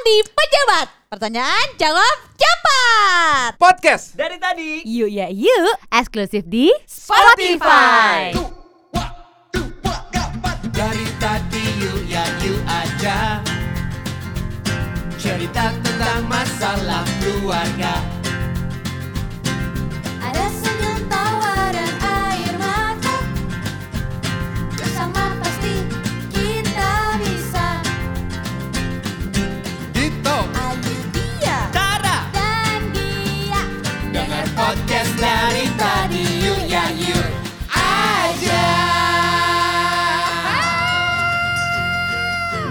di pejabat. Pertanyaan jawab cepat. Podcast. Dari tadi. Yuk ya yuk, eksklusif di Spotify. Spotify. Dari tadi yuk ya yuk aja. Cerita tentang masalah keluarga. Ada senyum tawa dan air mata Bersama pasti kita bisa Dito. Ayu Iya. dia Tara dan dia dengar podcast dari tadi yuk ya yuk aja.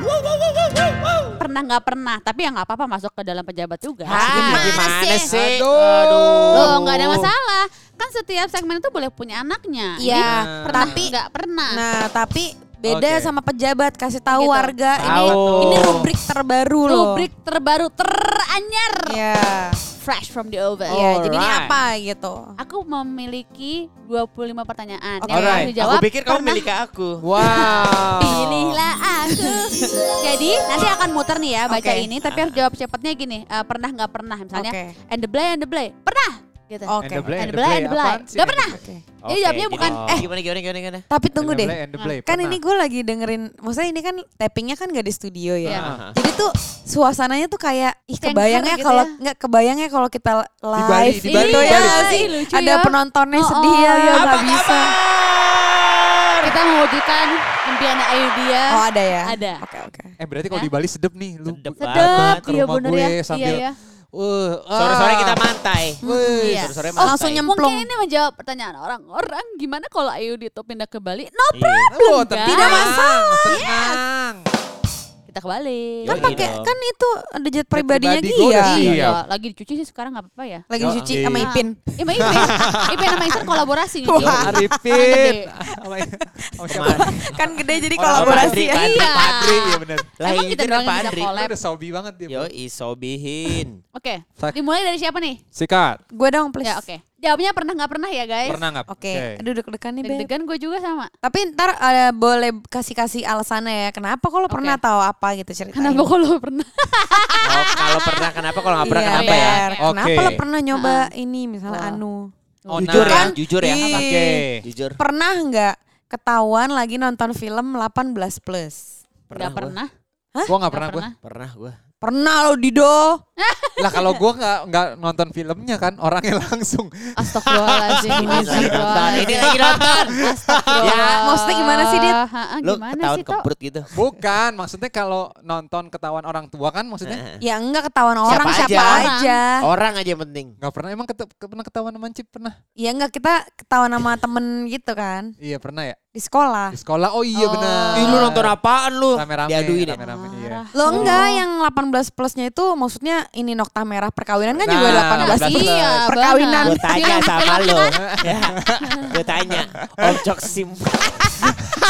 Wow, wow, wow, wow, wow, wow. Pernah nggak pernah, tapi ya nggak apa-apa masuk ke dalam pejabat juga. Gimana, gimana Eh, sih? Aduh. Loh, Oh, nggak ada masalah. Kan setiap segmen itu boleh punya anaknya. Iya, Ini pernah tapi- nggak pernah. Nah, tapi beda Oke. sama pejabat kasih tahu Gitu. warga ini Tahu. ini rubrik terbaru loh. Rubrik terbaru teranyar, Ya. fresh from the oven. Ya, jadi ini Alright. apa gitu. Aku memiliki 25 pertanyaan Oke. yang harus Alright. dijawab. Aku pikir kamu pernah- milik aku. Wow. Pilihlah aku. Jadi nanti akan muter nih ya baca Oke. ini, tapi harus jawab cepatnya gini. eh, pernah nggak pernah misalnya? Oke. And the blay, and the blay. Pernah? Gitu. Oke. And the blame, And the blay, and the blay. apaan sih? Nggak pernah. Oke. Jadi jawabnya gini. bukan eh gimana gimana gimana gimana. Tapi tunggu And the deh. blame, and the blame. Kan Pernah. ini gue lagi dengerin, maksudnya ini kan tappingnya kan gak di studio Iya. ya. Ah. Jadi tuh suasananya tuh kayak ih Cengker kebayangnya gitu kalau ya. nggak kebayangnya kalau kita Bali, live di Bali, gitu di ya Bali. nggak sih Ih, lucu ada ya. penontonnya Oh, sedih oh. ya ya Apa nggak bisa. kita mewujudkan impian Ayu dia. Oh ada ya. Ada. Oke oke. Eh berarti kalau Hah? di Bali sedep nih lu. Sedep Sedap, Ke Ya? iya rumah bener gue ya. sambil- Iya, iya. Uh, ah. Sore-sore kita mantai. Wih, Iya. Sore-sore mantai. Langsung nyemplung. Mungkin ini menjawab pertanyaan orang-orang. Gimana kalau Ayu Dito pindah ke Bali? No problem. Oh, guys. tenang, Tidak masalah. Tenang. Kita ke Bali. Kan Yoi pakai dong. kan itu ada jet pribadinya Iya, pribadi gua udah dia. sih. Iya, Iya. Lagi dicuci sih sekarang nggak apa-apa ya. Lagi Yoi. cuci sama Ah. Ipin. Iya, Ipin. Ipin sama Iksan kolaborasi gitu. nih. Wah. Anak Arifin. gede. Sama sama siapa? Kemarin. kan gede jadi Orang kolaborasi ya. Padri, Iya. Padri. Iya bener. Lah Emang ini kita doang yang bisa Padri. collab? Udah sobi banget dia. Yo isobihin. Oke. Tak. Dimulai dari siapa nih? Sikat. Gue dong please. Ya oke. Jawabnya pernah nggak pernah ya guys? Pernah nggak? Oke, aduh deg-degan nih Beb. Deg-degan gue juga sama. Tapi ntar eh, boleh kasih-kasih alasannya ya, kenapa kalau Oke. pernah tahu apa gitu ceritanya. Kenapa kalau pernah? Ah. Oh, kalau pernah kenapa kalau nggak pernah Iya, kenapa ya? Ah. Ber. Oke. Kenapa lo pernah nyoba ini misalnya Wah. Anu? Oh, Jujur nah, ya, jujur ya. Ih. Oke. Jujur. Pernah nggak ketahuan lagi nonton film 18 plus? Nggak gua. pernah. Gua nggak Nggak pernah gue. Pernah gua. Pernah lo Dido. Lah kalau gua nggak nggak nonton filmnya kan orangnya langsung. Astagfirullahaladzim. Astagfirullahaladzim. Ini lagi nonton. Astagfirullah. Ya, maksudnya gimana sih, Dit? Ha-ha, Lu Gimana ketahuan sih Tok? kebrut gitu. Bukan, maksudnya kalau nonton ketahuan orang tua kan maksudnya Ya enggak ketahuan orang Siapa siapa, aja. aja. Orang aja yang penting. nggak pernah emang ketep- ke- pernah ketahuan sama Cip pernah? Ya enggak kita ketahuan sama temen gitu kan Iya pernah ya di sekolah. di sekolah. Oh iya benar. Ah. Ih, lu nonton apaan lu? rame-rame, Diaduin ya? rame-rame, iya. Parah. Lo enggak yang 18 plusnya itu maksudnya ini nokta merah perkawinan kan juga Nah, 18 plus. Iya, Perkawinan. Gue benar. tanya sama lo. Gue tanya. Ojok sim.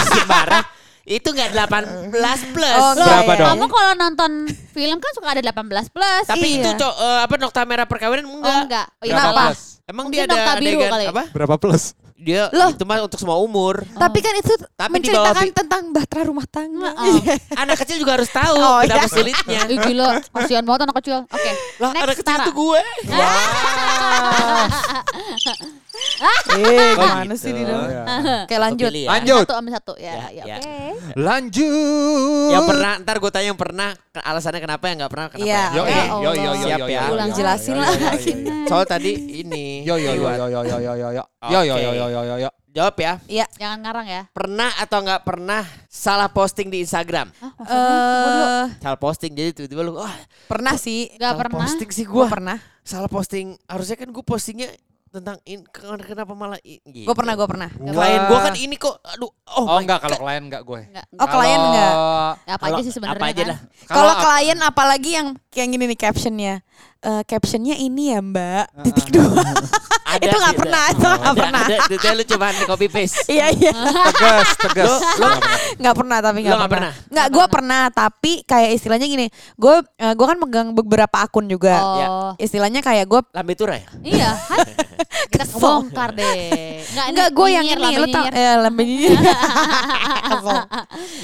Simbarah. Itu gak 18 plus. Oh, enggak Berapa ya. dong? iya. Kamu kalau nonton film kan suka ada 18 plus. Tapi Iya. itu co- eh, apa nokta merah perkawinan Oh enggak? enggak. Oh, iya, Berapa salah. plus? Emang Mungkin dia ada nokta biru adegan kali. apa? Berapa plus? Dia Loh. itu mah untuk semua umur. Tapi kan itu Tapi di bawah menceritakan bi- tentang bahtera rumah tangga. Iya. Heeh. Anak kecil juga harus tahu Oh, betapa iya. sulitnya. Ih gila, kasihan banget anak kecil. Oke, Lah, next anak kecil Tara. Ah. itu gue. Eh, Oh, gimana gitu. sih Dido? Iya. Oke, lanjut. Pilih ya. Lanjut. Satu ambil satu ya. Ya, ya, ya. Oke. Lanjut. Yang Ya, pernah, ntar gue tanya yang pernah, ke- alasannya kenapa yang gak pernah, kenapa Iya. ya. Ya Yo yo yo Allah. yo yo yo. Ulang yo, Oh, iya, jelasin yo, yo, lah. yo, yo, yo. Soal tadi ini. iya, Yo yo yo yo yo yo yo yo yo. Yo yo yo yo yo yo yo. Jawab ya. Iya. Jangan ngarang ya. Pernah atau nggak pernah salah posting di Instagram? Eh, Salah posting, jadi tiba-tiba lu, wah pernah sih. Gak salah pernah. posting sih Gue gue. pernah. Salah posting, harusnya kan gue postingnya tentang in, ken- kenapa malah gitu. ini. Gue pernah, gue pernah. Klien gue kan ini kok, aduh. Oh, Oh my enggak God. kalau klien enggak gue. Enggak. Oh, klien enggak? Kalau- Ya, Apa Kalau- aja sih sebenarnya Apa aja kan? dah. Kalau Kalau klien apalagi yang yang gini nih captionnya. Eh, captionnya ini ya mbak, titik dua. Ada itu nggak tidak? pernah, itu nggak Nggak pernah. Ada, detail lu cobaan copy paste. Iya iya, tegas, tegas. nggak pernah tapi nggak Lo nggak pernah. Nggak, gue pernah tapi kayak istilahnya gini, gue eh, gua kan megang beberapa akun juga. Ya. Oh, Istilahnya kayak gue Lambe tura ya? iya. Hat. Kita Kesel. bongkar deh. Enggak, gue yang ini, lu tau, eh, lambe nyinyir.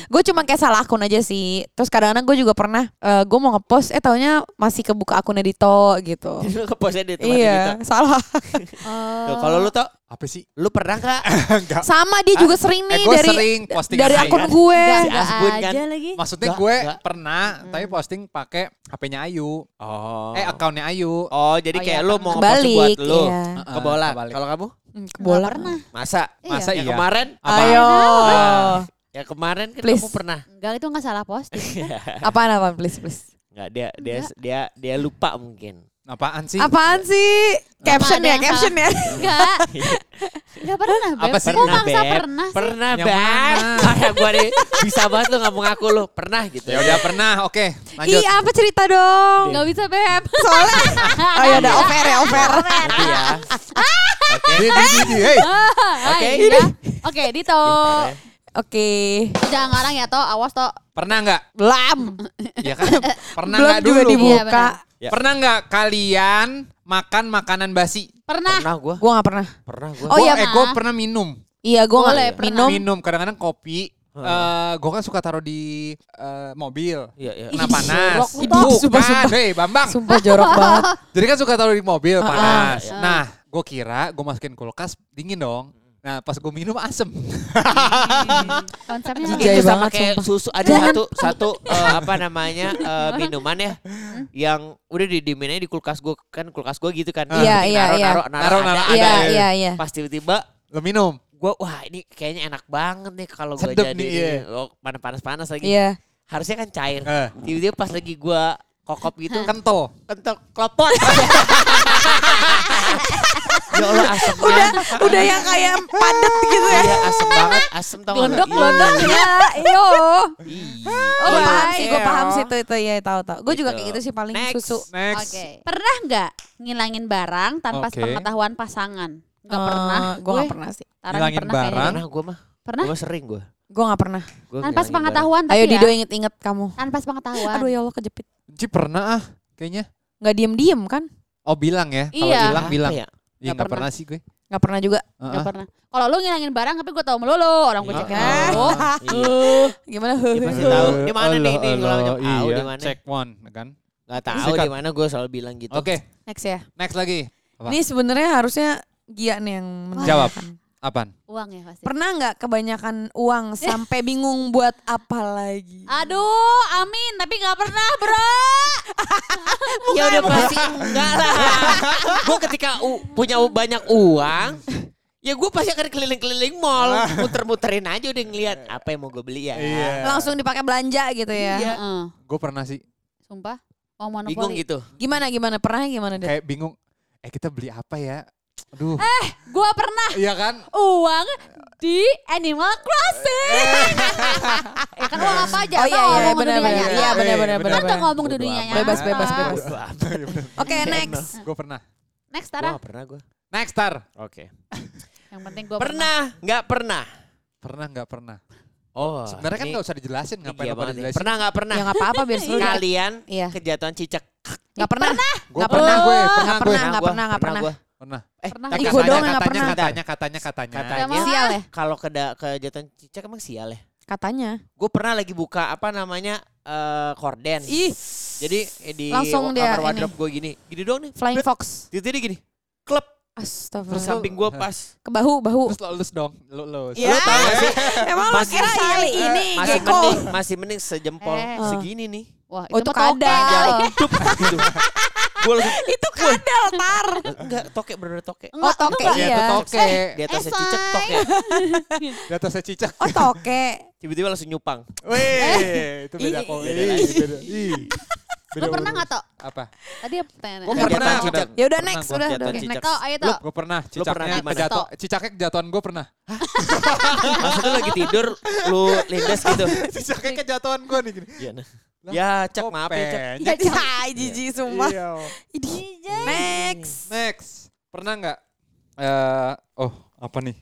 gue cuma kayak salah akun aja sih. Terus kadang-kadang gue juga pernah, gue mau ngepost, eh taunya masih kebuka akunnya Dito gitu. Lu ke posnya di tempat iya, salah. Oh, Gitu. Tuh, Kalau lu tau, Apa sih? lu pernah gak? Enggak. Sama dia juga sering Eh, nih gue dari sering posting ya? dari sendiri. akun gue. Si Asbun aja kan. lagi. Maksudnya Enggak, gue enggak. pernah, Hmm. tapi posting pakai HP-nya Ayu. Oh. Eh, akunnya Ayu. Oh, jadi Oh, kayak iya, lu mau ngepost buat Kebalik, lu. iya. Heeh, Kebola. kebalik. Kalau kamu? Bola. pernah. Masa? Masa Yang iya? kemarin? Apa? Ayo. Ya kemarin kan Please. kamu pernah. Enggak itu enggak salah posting. Apaan apaan please please. Enggak, dia dia dia dia lupa mungkin. Apaan sih? Apaan sih? Caption ada ya, yang caption ya. Enggak. Enggak pernah, Beb. Apa sih? Kok Iya. Pernah, bangsa Beb. pernah sih? Pernah, Yang Bang. Kayak gua nih bisa banget lu nggak mengaku lu pernah gitu. Ya udah pernah, oke. Lanjut. Iya, apa cerita dong? Enggak bisa, Beb. Soalnya. Ah, Oh iya ya udah Iya. over ya, over. Nanti ya. Di- di- di- di- hey. Oke. Ah, iya. Oke, Dito. Oke. Jangan ngarang ya, Toh. Awas, Toh. Pernah nggak? Belam. Ya kan? Pernah Belum nggak juga dulu? dibu- dibuka. Ya. Pernah nggak kalian makan makanan basi? Pernah. Pernah gua. Gue gak pernah. Pernah gua. Oh, Gua- iya, eh, Ma. gue pernah minum. Iya, gue gak Boleh, pernah. minum. Minum kadang-kadang kopi. Eh, Hmm. gue kan suka taruh di eh, mobil. Iya, iya. Ih, Nah panas. jorok lu, Bang. Sumpah, Bukan, sumpah. hei Bambang. Sumpah jorok banget. Jadi kan suka taruh di mobil Ah, panas. ah. Nah, gue kira gue masukin kulkas dingin dong. Nah, pas gue minum asem. Konsepnya Jijik. itu Jijai sama banget, kayak sumpah. susu ada satu satu eh, apa namanya eh, minuman ya yang udah di diminnya di kulkas gua kan kulkas gua gitu kan Iya, Mungkin iya, naro, iya. naro naro Naro, ada, naro, ada, Iya, ya. iya, iya. pas tiba-tiba Lo minum. gua wah ini kayaknya enak banget nih kalau gua Sedep jadi nih, ini. iya. Oh, panas panas panas lagi Iya. harusnya kan cair Eh, tiba-tiba pas lagi gua kokop gitu kan kental. kentok klopot ya Allah asem Udah, banget udah ya, yang kayak padet gitu ya. Iya asem banget, asem tau nggak? Glendok, Iya. glendok ya. Yo. Iya. Oh, Iya. paham sih, gue Iya. paham sih itu itu ya tahu tahu. Gue juga Gitu. kayak gitu sih paling Next. susu. Next. Oke. Pernah nggak ngilangin barang tanpa Oke. pengetahuan pasangan? Nggak pernah. gue Eh, gak pernah sih. Taran Ngilangin pernah kayaknya. barang? Pernah gue mah, Pernah? gue sering gue. Gue gak pernah. Tanpa gitu. pengetahuan tapi Ayo ya. Dido inget-inget kamu. Tanpa sepengetahuan. Aduh ya Allah kejepit. Ji pernah ah kayaknya. Gak diem-diem kan? Oh bilang ya. Kalau Iya. bilang bilang. Ya? Iya Nggak nggak pernah. pernah. sih gue. Gak pernah juga. Nggak Heeh. pernah. Kalau lu ngilangin barang tapi gue tau melulu. Orang Ya gue ya. cek Heeh. tahu. Iya. Gimana? Dia pasti tahu. Di mana Iya. Elo, nih? Ini elo, kalau macam tahu iya. di mana? Check one kan. Gak tahu Sikat. di mana gue selalu bilang gitu. Oke, Next ya. next lagi. Apa? Ini sebenarnya harusnya Gia nih yang menanyakan. Jawab. Apaan? Uang ya pasti. Pernah nggak kebanyakan uang sampai bingung buat apa lagi? Aduh, amin. Tapi nggak pernah, bro. Ya udah pasti enggak lah. gue ketika u- punya u- banyak uang, ya gue pasti akan keliling-keliling mall, muter-muterin aja udah ngeliat apa yang mau gue beli ya. Langsung dipakai belanja gitu ya. Heeh. Gue Iya. pernah sih Sumpah. Uang monopoli. Bingung gitu. Gimana gimana? Pernah gimana deh? kayak bingung. Eh kita beli apa ya? Aduh. Gue pernah Iya kan? uang di Animal Crossing. ya kan uang apa aja? Oh Abang iya iya ngomong ke benar dunia benar. nyata. Iya benar benar Eh, benar. Kan nggak benar. ngomong ke dunia nyata. ya. Bebas, bebas, bebas. Oke, next. gue pernah. Next, Gue Tara. gak pernah gue. Next star. Oke. Yang penting gue pernah. Pernah? Gak pernah. Pernah nggak pernah? Oh, Sebenarnya kan ini- nggak usah dijelasin ini ngapain gila apa banget nih. dijelasin. Pernah gak pernah? Ya enggak apa-apa biar seru. Kalian Iya. kejatuhan cicak. Enggak pernah. Gue pernah Nggak pernah. gue, Nggak pernah gue. Oh, pernah. nggak gua, nggak pernah. gua. Pernah. Eh, Pernah. tapi Ih, katanya- bodoh, nggak katanya, pernah. katanya, katanya, katanya, Katanya. Nggak mau. Sial ya? Kalau keda kejatuhan cicak emang sial ya. Katanya. Gue pernah lagi buka apa namanya eh korden. Ih, Jadi eh, di Langsung dia kamar ini. wardrobe gue gini. Gini doang nih. Flying Fox. Titik dia gini. Klep. Terus Astagfirullah. samping gue pas. Ke bahu, bahu. Terus lo lulus dong, lo lulus. Iya. Lu tau gak sih? Emang lu Masih- kira iya ini Masih gecko. mending, masih mending sejempol Oh. Eh. segini nih. Wah, itu Oh, itu mah tokek. kadal. Dup, gitu. Gue langsung Itu kadal, Tar. enggak tokek bener toke. Oh, toke Iya, itu iya. toke. Di atasnya Evan. cicak toke. Di atasnya cicak. Oh, toke. Tiba-tiba langsung nyupang. Wih, itu beda Ih. kok. Beda Ih, lagi. beda. Ih. Lu Beda pernah urut. nggak tok? Apa? Tadi apa pertanyaan? Gue Kejatuhan pernah. cicak. Ya udah Pernah next, gua udah. jatuh Oke, cicak. next. Tok, ayo tok. Gue pernah. Lu pernah Cicaknya di mana? kejatuh. Cicaknya kejatuhan gue pernah. Maksudnya lagi tidur, lu lindes gitu. Cicaknya kejatuhan gue nih gini. Iya, nah. Ya, cek maaf ya, cek. Kopeng. Ya, cai, jijik sumpah. Iya. Idi. Next. Next, pernah nggak? eh oh, apa nih?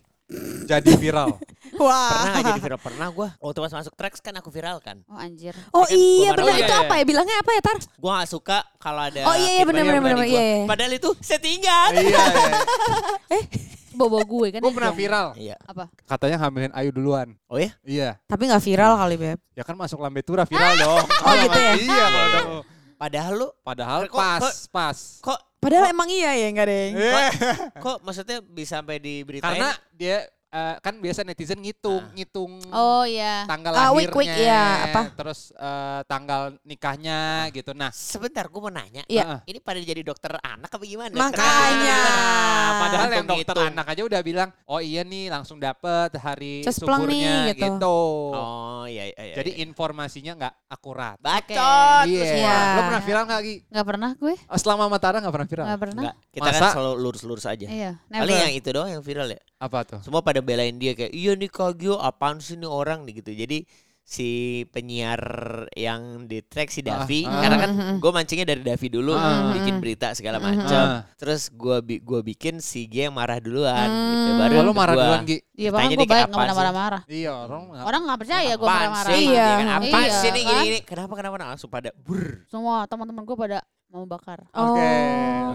Jadi viral. Pernah Wah. gak jadi viral? Pernah gue. Waktu pas masuk Trax kan aku viral kan. Oh anjir. Oh iya Gua benar marah. itu Iya, iya. apa ya bilangnya apa ya Tar? Gue gak suka kalau ada... Oh, iya, iya, bener, feedback bener, dari gua. bener, iya, iya. Padahal itu settingan. iya, Bobo gue kan. gue pernah dong. viral. Iya. Apa? Katanya hamilin Ayu duluan. Oh ya? Iya, Tapi nggak viral kali beb. ya kan masuk lambe tura viral dong. Oh, gitu ya? Iya, kalau dong. Padahal lu Padahal Kok- pas, kok- pas. kok Padahal emang iya ya enggak deng. Iya. kok maksudnya bisa sampai diberitain? Karena dia eh, kan biasa netizen ngitung, ngitung Oh iya. tanggal Ah, lahirnya, week, week, iya, apa? terus eh, tanggal nikahnya gitu. Nah, Sebentar gue mau nanya. Iya. Ah. Ini pada jadi dokter anak apa gimana? Makanya. Nah, padahal yang hitung-hitung. dokter anak aja udah bilang, oh iya nih langsung dapet hari Cespleng nih, suburnya gitu. Oh iya iya. iya, Jadi iya. informasinya nggak akurat. bacot. Iya. semua. Lo pernah viral nggak Gi? Gak pernah gue. Oh, Selama Matara nggak pernah viral? Gak Iya. pernah. Enggak, kita Masa? kan selalu lurus-lurus aja. Iya. Paling Never. yang itu doang yang viral ya. Apa tuh? Semua pada belain dia kayak, iya nih Kak Gio apaan sih nih orang nih gitu. Jadi si penyiar yang di track si Ah, Davi ah. karena kan gue mancingnya dari Davi dulu Ah. bikin berita segala Mm, macam ah. terus gue bi gua bikin si G yang marah duluan gitu Hmm. baru Kalau lo Eh, marah duluan gitu, Gi? Iya bahkan Tanya gue dia kayak baik gak apaan pernah sih? marah-marah. Iya orang nggak- Orang gak percaya gue Apaan marah-marah. sih? Iya. Gitu kan, apaan Iya, sih nih kan? gini, gini kenapa kenapa nah, langsung pada brr Semua teman-teman gue pada mau bakar. Oh. Oke.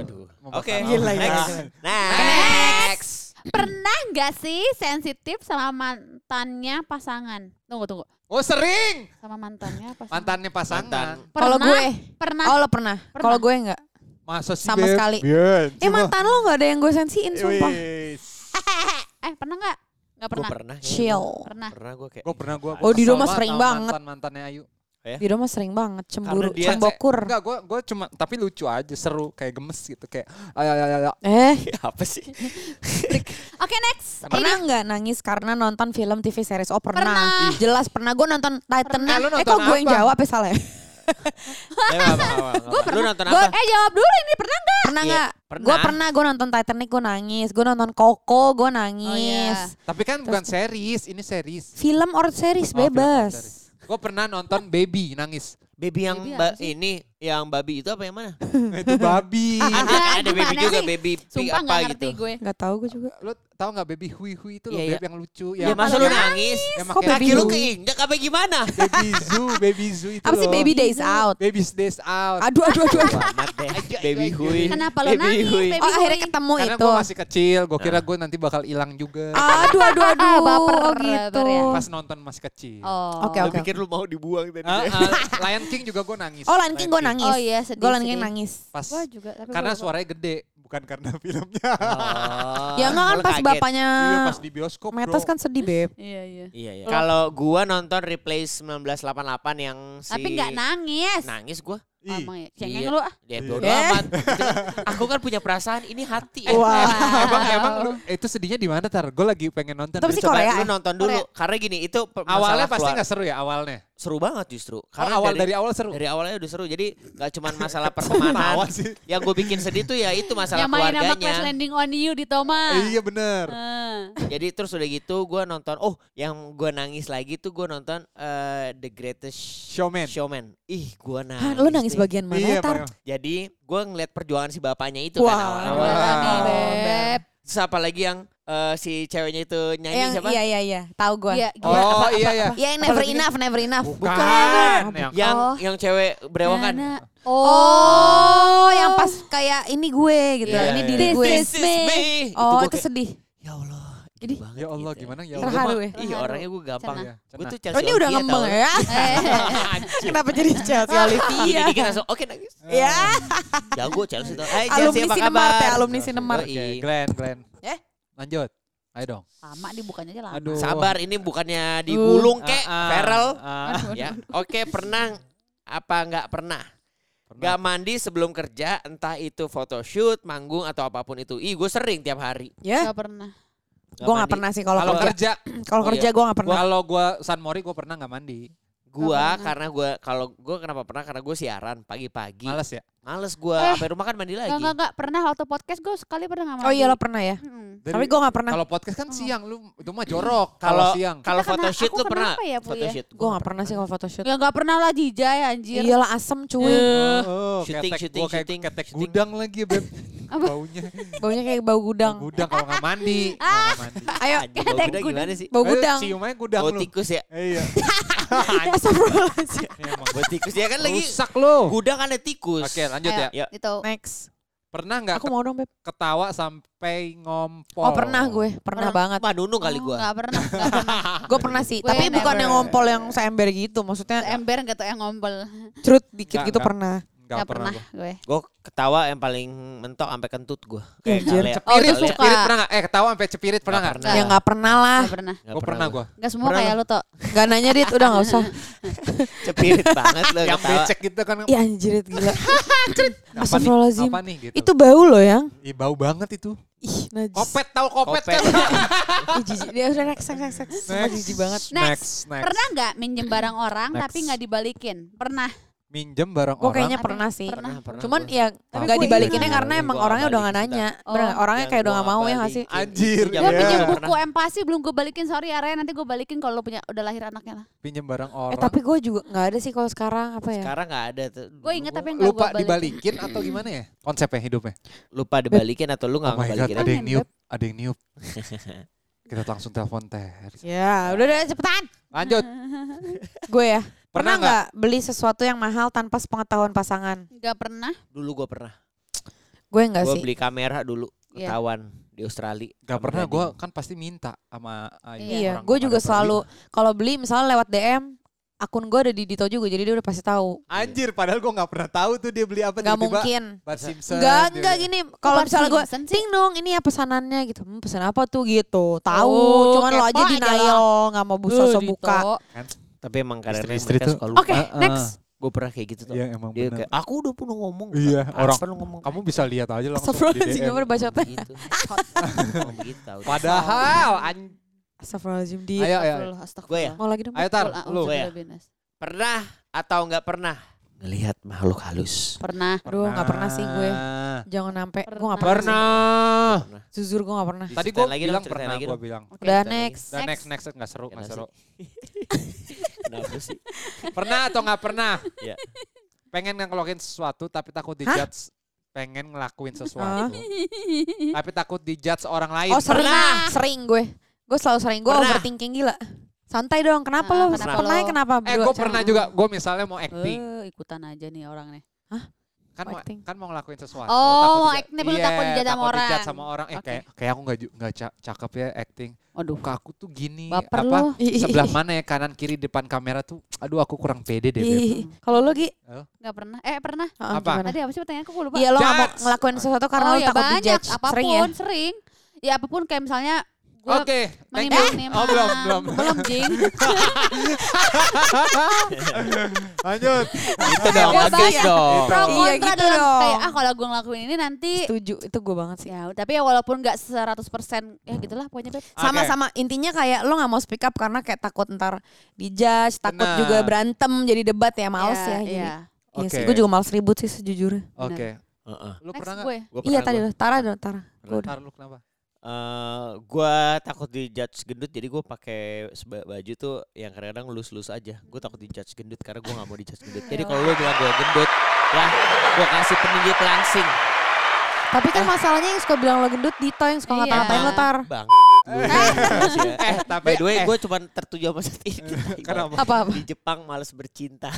aduh Mau oke bakar Gila ya. next. next next Pernah gak sih sensitif sama mantannya pasangan? Tunggu tunggu. Oh sering Sama mantannya pasangan. mantannya pasangan. Mantan. Kalau gue, Pernah. oh lo pernah. Nah. Pernah. Kalau gue enggak. Masa sih Sama Beb? sekali. Iya. Eh cuma- mantan lo nggak ada yang gue sensiin Iya, sumpah. Wis. Eh pernah gak? Gak gue pernah. pernah kayaknya Chill. gua. Pernah. pernah gue kayak Gue pernah gue. Oh, di rumah sering banget. Mantan mantannya Ayu. Di rumah sering banget cemburu, Karena dia- cembokur. Enggak, gue gue cuma tapi lucu aja, seru kayak gemes gitu kayak. Ayo, ayo, ayo. Eh, apa sih Oke next. pernah nggak nangis karena nonton film TV series? Oh pernah. Pernah. Ih, Jelas pernah. Gue nonton Titan. Eh, lu nonton Eh kok gue yang apa? jawab ya salah ya? gue pernah lu nonton Gue apa eh jawab dulu ini pernah gak? Pernah Iya, nggak? pernah. Gue pernah. Gue nonton Titanic gue nangis. Gue nonton Coco gue nangis. Tapi kan bukan series, ini series. Film or series bebas. Gue pernah nonton baby nangis. baby yang Baby ba- apa sih? ini yang babi itu apa yang mana Hmm. Itu babi. ada, ada baby gimana juga sih? baby pig Sumpah apa gak ngerti gitu gue. Gak tahu gue juga. Lo tau gak baby hui hui itu loh, Iya, babe iya. yang lucu. ya yang- masa lu nangis Yang Kok pakai- kaki lu Baby keinjak apa gimana Baby zoo, baby zoo itu Apa sih loh. Baby Days Out? Baby's days out. Aduh, aduh, aduh. aduh. Selamat deh baby hui Kenapa lo Baby nangis? hui. Baby Oh akhirnya hui? ketemu Karena itu. gue masih kecil, gue Nah. kira gue nanti bakal hilang juga. Aduh, aduh, aduh. Baper, oh, baper gitu. ya. Pas nonton masih kecil. Oh. Oke, Lu oke. pikir lu mau dibuang tadi Ah, ah, Lion King juga gue nangis. Oh Lion King gue nangis. Oh iya sedih. Gue Lion King sedih. nangis. Pas Gue juga tapi karena gua- suaranya gede, bukan karena filmnya. Ah. Oh, Ya enggak kan lu pas kaget. bapaknya Iya pas di bioskop bro. Metos kan sedih beb. Iya iya. Iya, iya. Kalau gua nonton replace 1988 yang si Tapi gak nangis. nangis gua. Oh, Ih, Emang ya. Cengeng Iya. lu ah. Ya Iya. bodo Eh. amat. Aku kan punya perasaan ini hati. Eh, Oh, Eh, emang, emang, emang lu eh, itu sedihnya di mana tar? Gue lagi pengen nonton. Tapi deh. sih Coba Korea, lu eh. nonton dulu. Karena gini, itu pe- awalnya masalah pasti keluar- nggak seru ya awalnya. seru banget justru. Karena Karena awal dari, awal seru. dari awalnya udah seru. Jadi nggak cuma masalah pertemanan. Tawa sih. yang gue bikin sedih tuh ya itu Yang masalah main sama Crash keluarganya. Landing on You di Toma. Ah. Iya bener. Heeh. Jadi terus udah gitu gua nonton. Oh, yang gua nangis lagi tuh gua nonton eh, The Greatest Showman. Showman. Ih, gua nangis. Hah, lu nangis deh. bagian mana Iya, Tar? Pak. Jadi gue ngeliat perjuangan si bapaknya itu Wah. kan awal-awal. Wah. Nih, Beb. Terus apalagi yang eh, si ceweknya itu nyanyi Yang siapa? iya iya iya, tahu gue. Iya, Iya, gila. Oh iya iya. yang never enough, never enough. Bukan. Yang- Yang Oh. yang cewek berewokan. Nana. Oh, yang pas kayak ini gue gitu. Iya, ini iya. diri gue. This is me. Oh, Itu gua itu kayak- sedih. Ya Allah. Jadi, gini banget Ya Allah gitu gimana ya Gua Allah. Iya, Terharu mah- ya? Ih, orangnya gue gampang. Cenah. Gue tuh Oh, Chelsea ini udah Olivia ngembang tau. ya. Kenapa jadi Chelsea Olivia? Gini dikit langsung oke nangis. Eh, Ya, Iya. Jago Chelsea tau. Hai alumni Chelsea apa Sinemar teh, kabar? alumni Sinemar. Oke, Yoi. Glenn, Glenn. Eh? Lanjut. Ayo dong. Lama dibukanya aja lama. Aduh. Sabar ini bukannya digulung kek. Ah, ah, Feral. Kan ah. Ya. Oke pernah apa nggak pernah? Pernah. Gak mandi sebelum kerja, entah itu photoshoot, manggung atau apapun itu. Ih, gue sering tiap hari. Ya, Gak pernah. gue nggak pernah sih kalau Kalau kerja. kerja, Kalau Oh, kerja gue nggak pernah. kalau gua San Mori gua pernah nggak mandi. Gua karena gua kalau gua kenapa pernah karena gue siaran pagi-pagi. Males ya? Males gua Eh. sampai rumah kan mandi lagi. Enggak, enggak, enggak. Pernah waktu podcast gue sekali pernah gak Oh iya lo pernah ya? Tapi gue gak pernah. Kalau podcast kan siang, lu itu mah jorok Kalau kalau siang. kalau Kita kena- photoshoot aku lu pernah? kenapa ya, Bu, ya? photoshoot. Gue gak pernah sih kalau photoshoot. Ya gak pernah lah dijay anjir. Iyalah asem cuy. Oh, Shooting, ketek, shooting, gua kayak shooting, ketek shooting. gudang lagi ya, Beb. Baunya. Baunya kayak bau gudang. Gudang kalau nggak mandi. Kalau nggak mandi. Ayo, Anjing, bau gudang gimana sih? bau Eh, gudang. Ciumannya gudang Bau lu. tikus ya. Iya. Astagfirullahaladzim. Ini emang Bau tikus ya kan lagi rusak lu. gudang ada tikus. Oke, lanjut Ayo. ya. Ya. Gitu. Next. Pernah nggak Aku mau dong Beb. ketawa sampai ngompol? Oh pernah gue, pernah banget. Mah nunung kali Oh, gua. Gak pernah. Gak pernah. Gue pernah sih, Gue tapi bukan never. yang ngompol yang seember gitu. Maksudnya Ember gak tuh yang ngompol. cerut dikit Enggak, gitu enggak. pernah. Nggak pernah. gua. gue. Gua ketawa yang paling mentok sampai kentut gua. Kayak Iya, Oh, itu kalian. Eh, Cepirit, suka. cepirit pernah nggak? Eh, ketawa sampai cepirit pernah Nggak nggak? pernah. Ya gak pernah lah. Gak pernah. Nggak Gue pernah gue. Gak semua Pernah kayak lu tuh. Gak nanya Dit, udah gak usah. Cepirit banget lo Yang ketawa. becek gitu kan. Ya anjir Dit, gila. Apa nih? Astagfirullahaladzim. Apa nih gitu. Itu bau loh yang. Ih, bau banget itu. Ih najis. Kopet tahu kopet, Kopet. kan? Ih, jijik. Dia udah next, next, next, next. Sumpah jijik banget. Next. next. Pernah gak minjem barang orang Next. tapi gak dibalikin? Pernah. Minjem barang Gue orang. kayaknya pernah sih. Pernah. Ah, pernah gua. Cuman ya Tapi nggak gua dibalikinnya ingat. karena emang Gua orangnya udah nggak balikin, nanya. Oh. Bener, orangnya Yang kayak udah gua nggak mau ya nggak sih? balikin. Anjir, Itu Gue zaman Iya. pinjem dulu buku empasi belum gue balikin. Sorry ya Rey, nanti gue balikin kalau lu punya udah lahir anaknya lah. pinjem barang orang. Eh tapi gue juga nggak ada sih kalau sekarang apa ya? Sekarang nggak ada tuh. Gue inget tapi yang gak lupa gue balikin. dibalikin atau gimana ya? Konsepnya hidupnya. lupa dibalikin atau lu oh nggak my god, ngebalikin ada yang Aneh, niup, ada yang niup. Kita langsung telepon Ter. Ya udah udah cepetan. Lanjut. Gue ya. Pernah Pernah nggak beli sesuatu yang mahal tanpa sepengetahuan pasangan? Gak pernah. dulu gue pernah Gue nggak gue Iya sih. beli kamera dulu Iya. ketahuan di Australia Gak Sama pernah Gading. gue kan pasti minta sama ah, Iya, orang gue yang juga ada selalu beli. kalau beli misalnya lewat DM akun gue ada di Dito juga jadi dia udah pasti tahu. Anjir, padahal gue gak pernah tahu tuh dia beli apa Nggak tiba-tiba. gitu ya. mungkin. Bart Simpson. Enggak, dia- enggak gini. Kalau Bart misalnya gue, Simpson sih? ting dong ini ya pesanannya gitu. Hmm, pesan apa tuh gitu. Tahu, Oh, cuman lo aja kepo aja denial, nggak mau busa so buka. tapi emang kadang Istri-istri mereka tuh- suka lupa Oke, Ah, ah. next. gue pernah kayak gitu tuh Iya, emang dia benar. kayak aku udah pernah ngomong Iya, Apa orang. lu ngomong Kamu bisa lihat aja langsung di Astagfirullahaladzim, DM. gue baru baca teh. gitu gitu Padahal an- Astagfirullahaladzim, di. Ayo, ayo. Astagfirullah, Gue ya? astagfirullah. Mau lagi dong. Ayo tar, Astagfirullah, lu. Gue ya? astagfirullahaladzim. pernah atau nggak pernah ngelihat makhluk halus Pernah. Aduh, nggak pernah sih gue. Jangan sampai. Gue nggak pernah. sih. Pernah. Pernah. Jujur gue nggak pernah. Tadi Diceritain gue lagi dong, bilang ceritain pernah, lagi gue dong. bilang. Oke. Udah Oke, next. Dan Next. next next nggak seru nggak Kenapa seru. kenapa sih Pernah atau nggak pernah? Iya. Pengen ngelakuin sesuatu tapi takut dijudge. Pengen ngelakuin Oh. sesuatu tapi takut dijudge orang lain. Oh sering, Pernah. sering gue. Gue selalu sering. Gue Pernah. overthinking gila. Santai dong. Kenapa Ah, lo? kenapa Pernah lo? kenapa? eh berdua? gue pernah juga. Gue misalnya mau acting Eh, ikutan aja nih orang nih. kan mau, acting. kan mau ngelakuin sesuatu. Oh, dija- acting tapi lu takut dijudge sama Iya, takut dijudge orang. sama orang. Eh Oke. kayak kayak aku nggak ju- nggak ca- cakep ya acting. Waduh. Muka aku tuh gini. Baper apa? lu. Sebelah mana ya kanan kiri depan kamera tuh. Aduh aku kurang pede deh. Beb. Ih, Kalau lo Gi, Gak pernah. Eh, pernah. heeh, Apa? gimana? Tadi apa sih pertanyaanku? Gue lupa. Iya lo nggak mau Judge. ngelakuin sesuatu karena oh, lo ya takut banyak. dijudge. Apapun, Sering ya? sering. Ya apapun kayak misalnya gue Oke, thank you. menimbang-nimbang. Oh belum belum. Belum, Jing. Lanjut. itu dong Iya, bagus banyak. dong Pro Iya kontra gitu dong. dalam Kayak kayak, ah kalau gue ngelakuin ini nanti Setuju, itu gue banget sih. ya tapi ya walaupun gak 100% ya gitulah pokoknya Beb. Sama-sama intinya kayak lo nggak mau speak up karena kayak takut ntar dijudge, takut Benar. juga berantem jadi debat ya males ya. Jadi, Iya. Iya sih, Oke. gue juga males ribut sih sejujurnya. Oke. Heeh. Lu Next pernah nggak? gue. Gua Iya pernah tadi gua. lo, Tara dong, Tara. Gue udah. Ntar lu kenapa? eh gua takut di judge gendut jadi gua pakai seba- baju tuh yang kadang-kadang lus-lus aja. Gua takut di judge gendut karena gua nggak mau di judge gendut. Jadi kalau lu bilang gua gendut, ya gua kasih peninggi pelangsing. Tapi kan masalahnya yang suka bilang lo gendut, Dito yang suka Iya. ngata-ngatain lo, Tar. Bang. Eh, By tapi the way, eh, kan gua cuma tertuju sama saat ini. Kenapa? Apa-apa. Di Jepang males bercinta.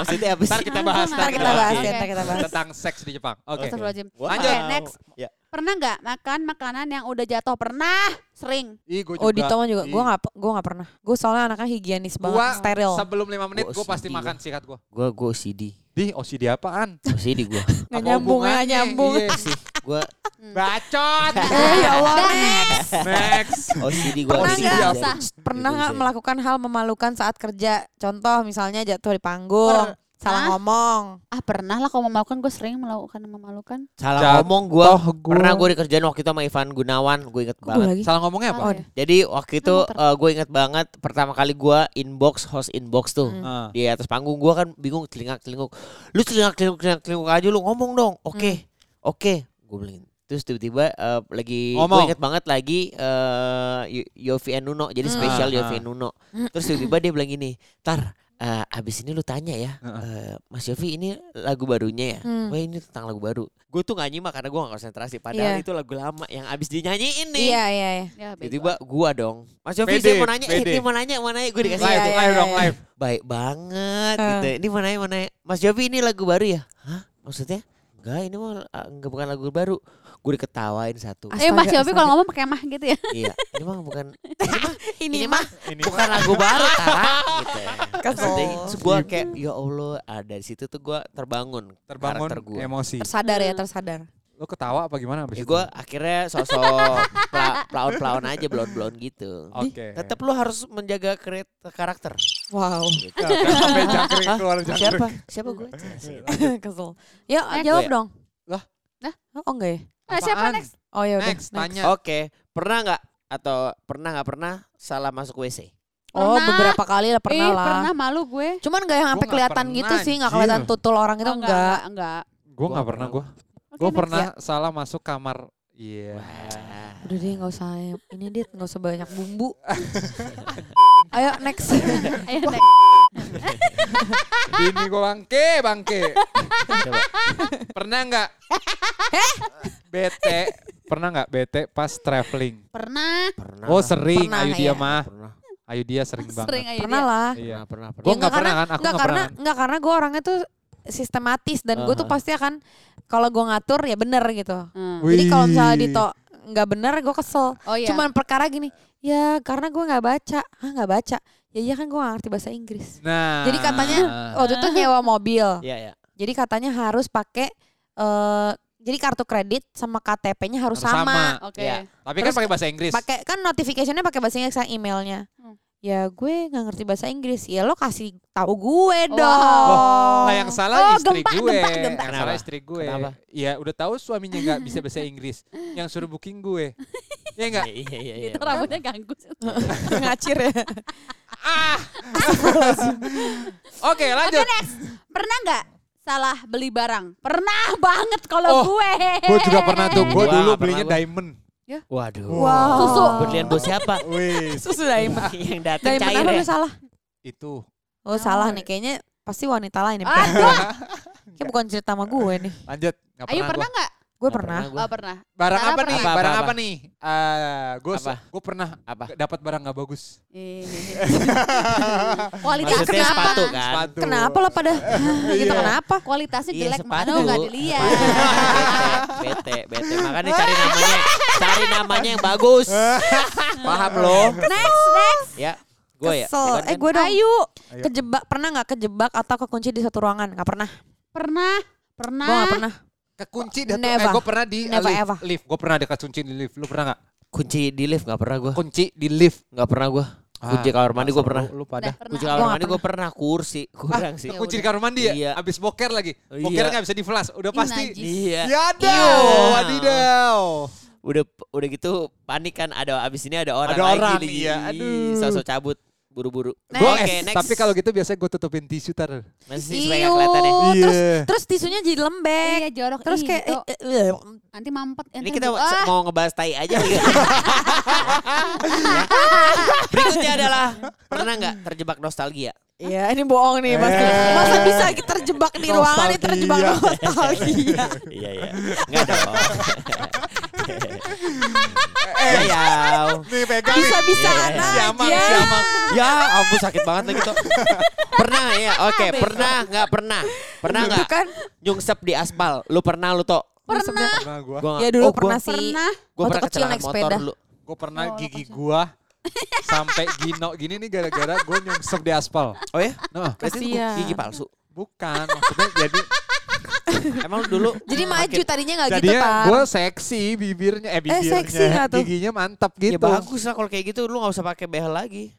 Maksudnya apa sih? Ntar kita bahas, ntar kita bahas ya, Oke. ntar kita bahas. tentang seks di Jepang. Oke. Astagfirullahaladzim. Wow. Oke, next. Ya. Pernah nggak makan makanan yang udah jatuh? Pernah. Sering. Ih, gua Oh Dito mah juga, Ih. gue gak, gue gak pernah. Gue soalnya anaknya higienis banget, Gua steril. Sebelum 5 menit Gua gue pasti OCD makan gua. sikat gue. Gua gua OCD. Di OCD apaan? OCD gua. Nggak Apa nyambung, hubungannya? nggak nyambung. Iya sih. Gua Bacot. Eh, ya Allah. Next. OCD gua. Pernah OCD. nggak? Jadi- Usah. Pernah Gitu nggak sih. melakukan hal memalukan saat kerja? Contoh misalnya jatuh di panggung. Salah Hah? ngomong. Ah pernah lah kalau memalukan gue sering melakukan memalukan. Salah Jatuh ngomong gue. gua. Pernah gue dikerjain waktu itu sama Ivan Gunawan. Gue inget Kok gue banget. lagi? Salah ngomongnya apa? Oh, ya? Jadi waktu itu Sama ter- gue inget banget pertama kali gue inbox host inbox tuh. Hmm. Ah. Di atas panggung gue kan bingung celingak celinguk. Lu celingak celinguk celingak celinguk aja lu ngomong dong. Hmm. Oke. Oke. Gue bilang Terus tiba-tiba eh, lagi gue Ngomong. inget banget lagi eh, Y- Yofi and Nuno. Jadi Hmm. spesial Ah, Yofi ah. and Nuno. Terus tiba-tiba dia bilang gini, "Tar, eh, abis ini lu tanya ya, Ah, eh, Mas Yofi ini lagu barunya ya? Hmm. Wah ini tentang lagu baru. Gue tuh gak nyimak karena gue gak konsentrasi. Padahal Iya. itu lagu lama yang abis dinyanyiin nih. Iya, iya, iya. Ya, bego. Tiba-tiba gua dong. Mas Yofi Pede, saya mau nanya, eh, pede. ini mau nanya, mau nanya. Gue dikasih Iya, Live, gitu. iya, live iya, dong, iya. live. Baik banget Eh. gitu. Ini mau nanya, mau nanya. Mas Yofi ini lagu baru ya? Hah? Maksudnya? Enggak, ini mah ah, enggak bukan lagu baru. Gue diketawain satu. Ah. Eh Mas Astaga, Yofi kalau ngomong pakai mah gitu ya. iya, ini mah bukan Ini, Ini mah Ini bukan lagu baru, Tara. gitu. Kesel. Gue kayak, ya Allah, ah, dari situ tuh gue terbangun. terbangun Karakter gue. emosi. tersadar ya, tersadar. Lo ketawa apa gimana abis itu? gue Ya akhirnya sosok pla- pelawan-pelawan aja, belon-belon gitu. Oke. Tetap lu harus menjaga kreat- karakter. Wow. Gitu. Sampai jangkrik keluar jangkrik. Siapa? Siapa gue? Jelasin. Kesel. Ya, Next. jawab Gue ya? dong. Iya. Lah? Lah? Oh enggak ya? Nah, siapa Apaan? next? Oh ya udah. Next, tanya. Oke, pernah nggak atau pernah nggak pernah salah masuk WC? Oh, Pernah. beberapa kali lah pernah eh, lah. pernah malu gue. Cuman enggak yang Gua sampai nggak kelihatan pernah, Iya. gitu sih, enggak anjir. kelihatan tutul orang itu Oh, enggak. enggak. Gue gak Gua pernah ya. pernah. Oke, gue. Gue next. ya. pernah salah masuk kamar. Iya. Udah deh enggak usah. Ini dia enggak usah banyak bumbu. Ayo next. Ayo next. Bini gue bangke, bangke. Pernah nggak? bete. Pernah nggak bete pas traveling? Pernah. Pernah. Oh lah. sering, Pernah, ayu dia ya. mah. Pernah. Ayu dia sering Sering banget. aja pernah lah. Iya. Pernah, pernah, Gue Ya, nggak nggak pernah kan, aku Enggak nggak karena pernah. kan. enggak karena gue orangnya tuh sistematis dan gue tuh Aha. pasti akan kalau gue ngatur ya bener gitu. Hmm. Jadi kalau misalnya Wih. Dito nggak bener gue kesel. Oh iya. Cuman perkara gini, ya karena gue nggak baca, ah nggak baca, ya iya kan gue nggak ngerti bahasa Inggris. Nah. Jadi katanya oh, waktu itu nyewa mobil, Ya. Iya, iya. jadi katanya harus pakai, eh jadi kartu kredit sama KTP-nya harus, sama. Oke. Iya. Tapi kan Terus pakai bahasa Inggris. Pakai kan notification-nya pakai bahasa Inggris sama emailnya. Hmm. Ya gue nggak ngerti bahasa Inggris, ya lo kasih tahu gue Wow. dong. Lah Oh, yang salah Oh, istri gempa, gue. gempa, Yang gempa. salah Kenapa? istri gue. Kenapa? Iya udah tahu suaminya nggak bisa bahasa Inggris. Yang suruh booking gue. Iya nggak? Iya, iya, iya. iya, Itu pernah. rambutnya ganggu. Ngacir ya. Ah. Oke lanjut. Pernah nggak salah beli barang? Pernah banget kalau Oh, gue. Gue juga pernah tuh. Gue dulu Gua nggak pernah belinya gua. diamond. Waduh. Wow. Susu. Berlian buat siapa? Wih, Susu dari mana? Yang datang Dari cair mana ya. lo salah? itu. Oh salah nih, kayaknya pasti wanita Ah. lain. nih. Aduh. Kayak bukan cerita sama gue nih. Lanjut. Ayo Nggak pernah pernah gua. nggak? Gue Nggak pernah. gua. Oh pernah. Barang Tara apa, pernah. nih? Apa, barang apa, apa, apa? nih? Eh, gue Apa? gue pernah Apa? dapat barang nggak bagus. Iya, Kualitas Maksudnya kenapa? sepatu kan? Sepatu. Kenapa lo pada gitu kenapa? Kualitasnya Iya, jelek, sepatu. mana nggak dilihat. Bete, bete, bete. Makanya cari namanya, cari namanya yang bagus. Paham lo? Next, next. Ya, gue ya. Kesel. bukan Eh kan? gue dong. Ayu. Ayo. Kejebak pernah nggak kejebak atau kekunci di satu ruangan? Nggak pernah. Pernah. Pernah. Gue nggak pernah. Kekunci dah tuh. Eh, Never. gue pernah di eh, Never lift. ever. lift. Gue pernah ada kekunci di lift. Lu pernah nggak? kunci di lift nggak pernah gue. Kunci di lift. Nggak pernah gue. Ah, Ah, Kunci kamar mandi gue pernah. Lu, lu pada. Pernah. Kunci Gua kamar nggak mandi gue pernah kursi, kurang sih. Ya kunci di udah. kamar mandi ya? Iya. Abis boker lagi. Iya. Bokernya nggak bisa di flash. Udah Ih, pasti. najis. Iya. Ya Iya. dong. Wadidaw. Udah udah gitu panik kan ada abis ini ada orang Ada lagi orang, lagi. iya. Aduh. Sosok cabut buru-buru. Next. Gua Oke, es. next. Tapi kalau gitu biasanya gue tutupin tisu tar. masih supaya nggak Iu. kelihatan ya. Terus Iya. terus tisunya jadi lembek. Iya jorok. Terus Ih, kayak Dok, eh, eh, eh, nanti mampet. Ini nanti kita gua- se- Ah, mau ngebahas tai aja. Ya. Berikutnya adalah pernah nggak terjebak nostalgia? Iya ini bohong nih pasti. Eh. Masa bisa kita terjebak di ruangan ini terjebak nostalgia. Iya iya. Enggak dong. Ya ya. Nih pegang nih. Bisa bisa Iya, iya. Siamang, aja. siamang. Ya ampun sakit banget lagi tuh. Pernah ya? Oke, pernah nggak pernah? Pernah Itu nggak? kan Nyungsep di aspal. Lu pernah lu toh? pernah. Pernah gue. Gua nggak- Ya dulu Oh, gua- pernah sih. Pernah. Gua Waktu pernah kecil kecelakaan naik motor sepeda. dulu. Gue pernah gigi gue sampai gino gini nih gara-gara gue nyungsep di aspal. Oh ya? Nah, Berarti itu Kasian. gigi palsu. bukan maksudnya jadi Emang lu dulu Jadi maju tadinya nggak gitu jadinya kan. gue seksi bibirnya eh bibirnya seksi nggak tuh? giginya mantap gitu. Ya bagus lah kalau kayak gitu lu gak usah pakai behel lagi.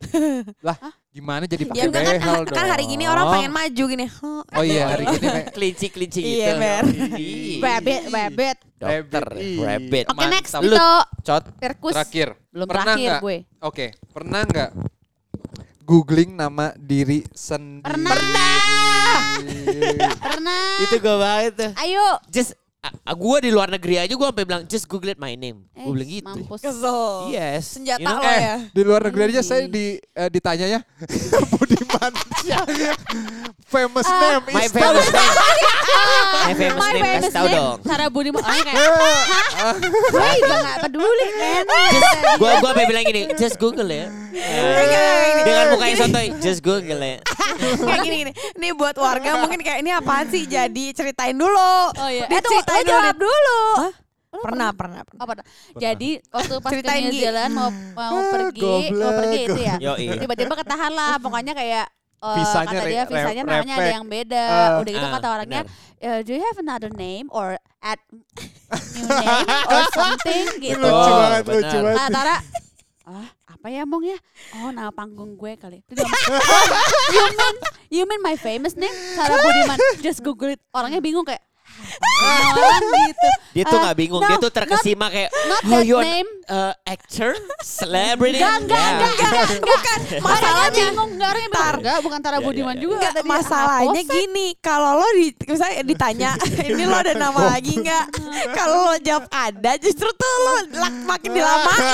Lah, gimana jadi Ya pakai enggak kan, behel kan hari dong? Oh. gini orang pengen maju gini. Huh, Oh iya hari gini Mek. Kelinci-kelinci gitu. Iya, Mer. Ih. Rabbit, rabbit. Dokter, Ih. rabbit. Oke next Mantap. Dito. Cot. Perkus. Terakhir. Belum Pernah terakhir nggak- gue. Oke, pernah nggak googling nama diri sendiri? Pernah. Pernah. Itu gue banget tuh. Ayo. Just, ah, gue di luar negeri aja gue sampai bilang, just google it my name. Gue bilang gitu. Mampus. Kesel. Yes. Senjata You know, lo eh, ya. Di luar negeri aja saya di eh, ditanyanya Budiman famous Ah, name My is famous name. Ah. My famous My name, kasih tau dong. Sarah Budi Mo- Ayo kayak, hah? Gue juga gak peduli, men. Gue gua sampai bilang gini, just google ya. Dengan mukanya sotoy, just google ya. Kayak gini gini. Ini buat warga mungkin kayak ini apaan sih? Jadi ceritain dulu. Oh iya. Dit, Eh, tunggu, ceritain lo jawab Dit. dulu. Hah? Pernah, pernah, pernah. Oh, pernah. Jadi waktu pas ke Ceritain, New Gi. Zealand mau mau Ah, pergi, mau goblok, pergi itu ya. Yoi. Tiba-tiba ketahan lah, pokoknya kayak eh, Visanya kata re- dia visanya re- namanya ada repek. yang beda. Ah. Udah gitu Ah, kata orangnya, "Eh, do you have another name or add new name or something gitu. lucu banget, benar. lucu banget. Nah, Tara, ah, apa ya Mong ya? Oh, nama panggung gue kali. Terus dia ngomong, "Oh, you mean, you mean my famous name? Sarah Budiman. Just google it. Orangnya bingung kayak, "Hah, apaan gitu. Dia tuh Ah, nggak bingung, no, dia tuh terkesima kayak not "Oh, that you are, name." uh, actor, celebrity. Ya. Enggak, enggak, Yeah. enggak, enggak, bukan. Masalahnya Masalahnya- bingung, enggak orangnya bingung. Enggak, bukan Tara Iya, Budiman iya, juga. Enggak, Tadi ya, masalahnya apa sih? gini, kalau lo di, misalnya ditanya, ini lo ada nama lagi nggak? Kalau lo jawab ada, justru tuh lo lak- makin dilamain.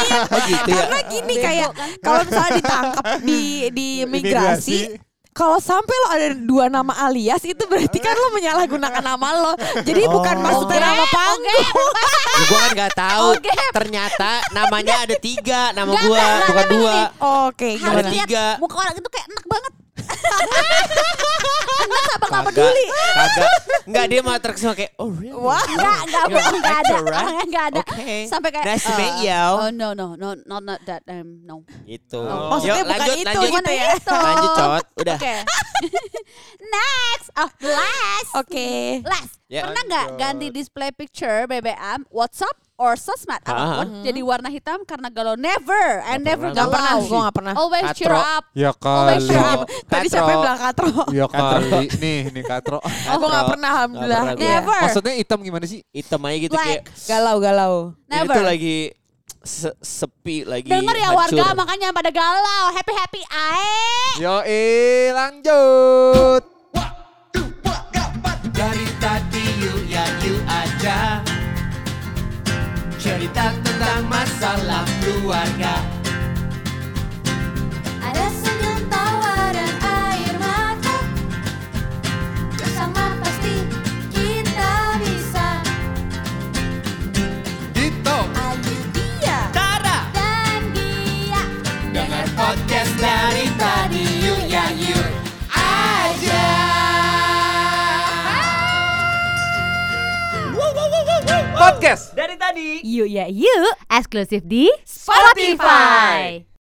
gitu ya. Karena gini kayak, kalau misalnya ditangkap di di imigrasi, kalau sampai lo ada dua nama alias itu berarti kan lo menyalahgunakan nama lo. Jadi bukan maksudnya Oke, nama panggung. Ya, gua kan nggak tahu. Oke. Ternyata namanya ada tiga, nama Enggak, gua enggak, bukan enggak, dua. enggak, Oke, Harus gimana? Ada lihat tiga. muka orang itu kayak enak banget. Enak apa enggak Kagak, peduli. Kagak. Enggak dia mau terkesima kayak oh really? Wah, Enggak, enggak, You're an enggak ada. actor, ah. right? Orangnya enggak ada. Okay. Sampai kayak Nice to eh, meet you. Oh no no no not not that um no. Gitu. maksudnya Yuk, bukan lanjut, itu, lanjut. gitu ya. Itu. Oh. Lanjut, Cot. Udah. Oke. Next, oh the last. Oke. Last, Ya, pernah nggak ganti display picture BBM, WhatsApp, or sosmed apapun jadi warna hitam karena galau? Never, I never pernah. Hmm. Gak galau. pernah, gue gak pernah. Always Katro. cheer up. Ya Oh, my kali. God. Tadi siapa yang Katro. bilang katro? Ya kali. Nih, nih Katro. Oh, gue gak pernah, alhamdulillah. Nggak pernah Iya. Never, Maksudnya hitam gimana sih? Hitam aja gitu Like, kayak Galau-galau. ini never. tuh lagi se- sepi lagi. Dengar ya hancur. warga makanya pada galau, happy happy ae. Yo, lanjut. Dari tadi you ya you aja Cerita tentang masalah keluarga Ada senyum tawa dan air mata Bersama pasti kita bisa Dito. Ayu dia Tara dan dia Dengar podcast dari tadi you ya you aja Podcast. Dari tadi Yuk ya yuk, eksklusif di Spotify.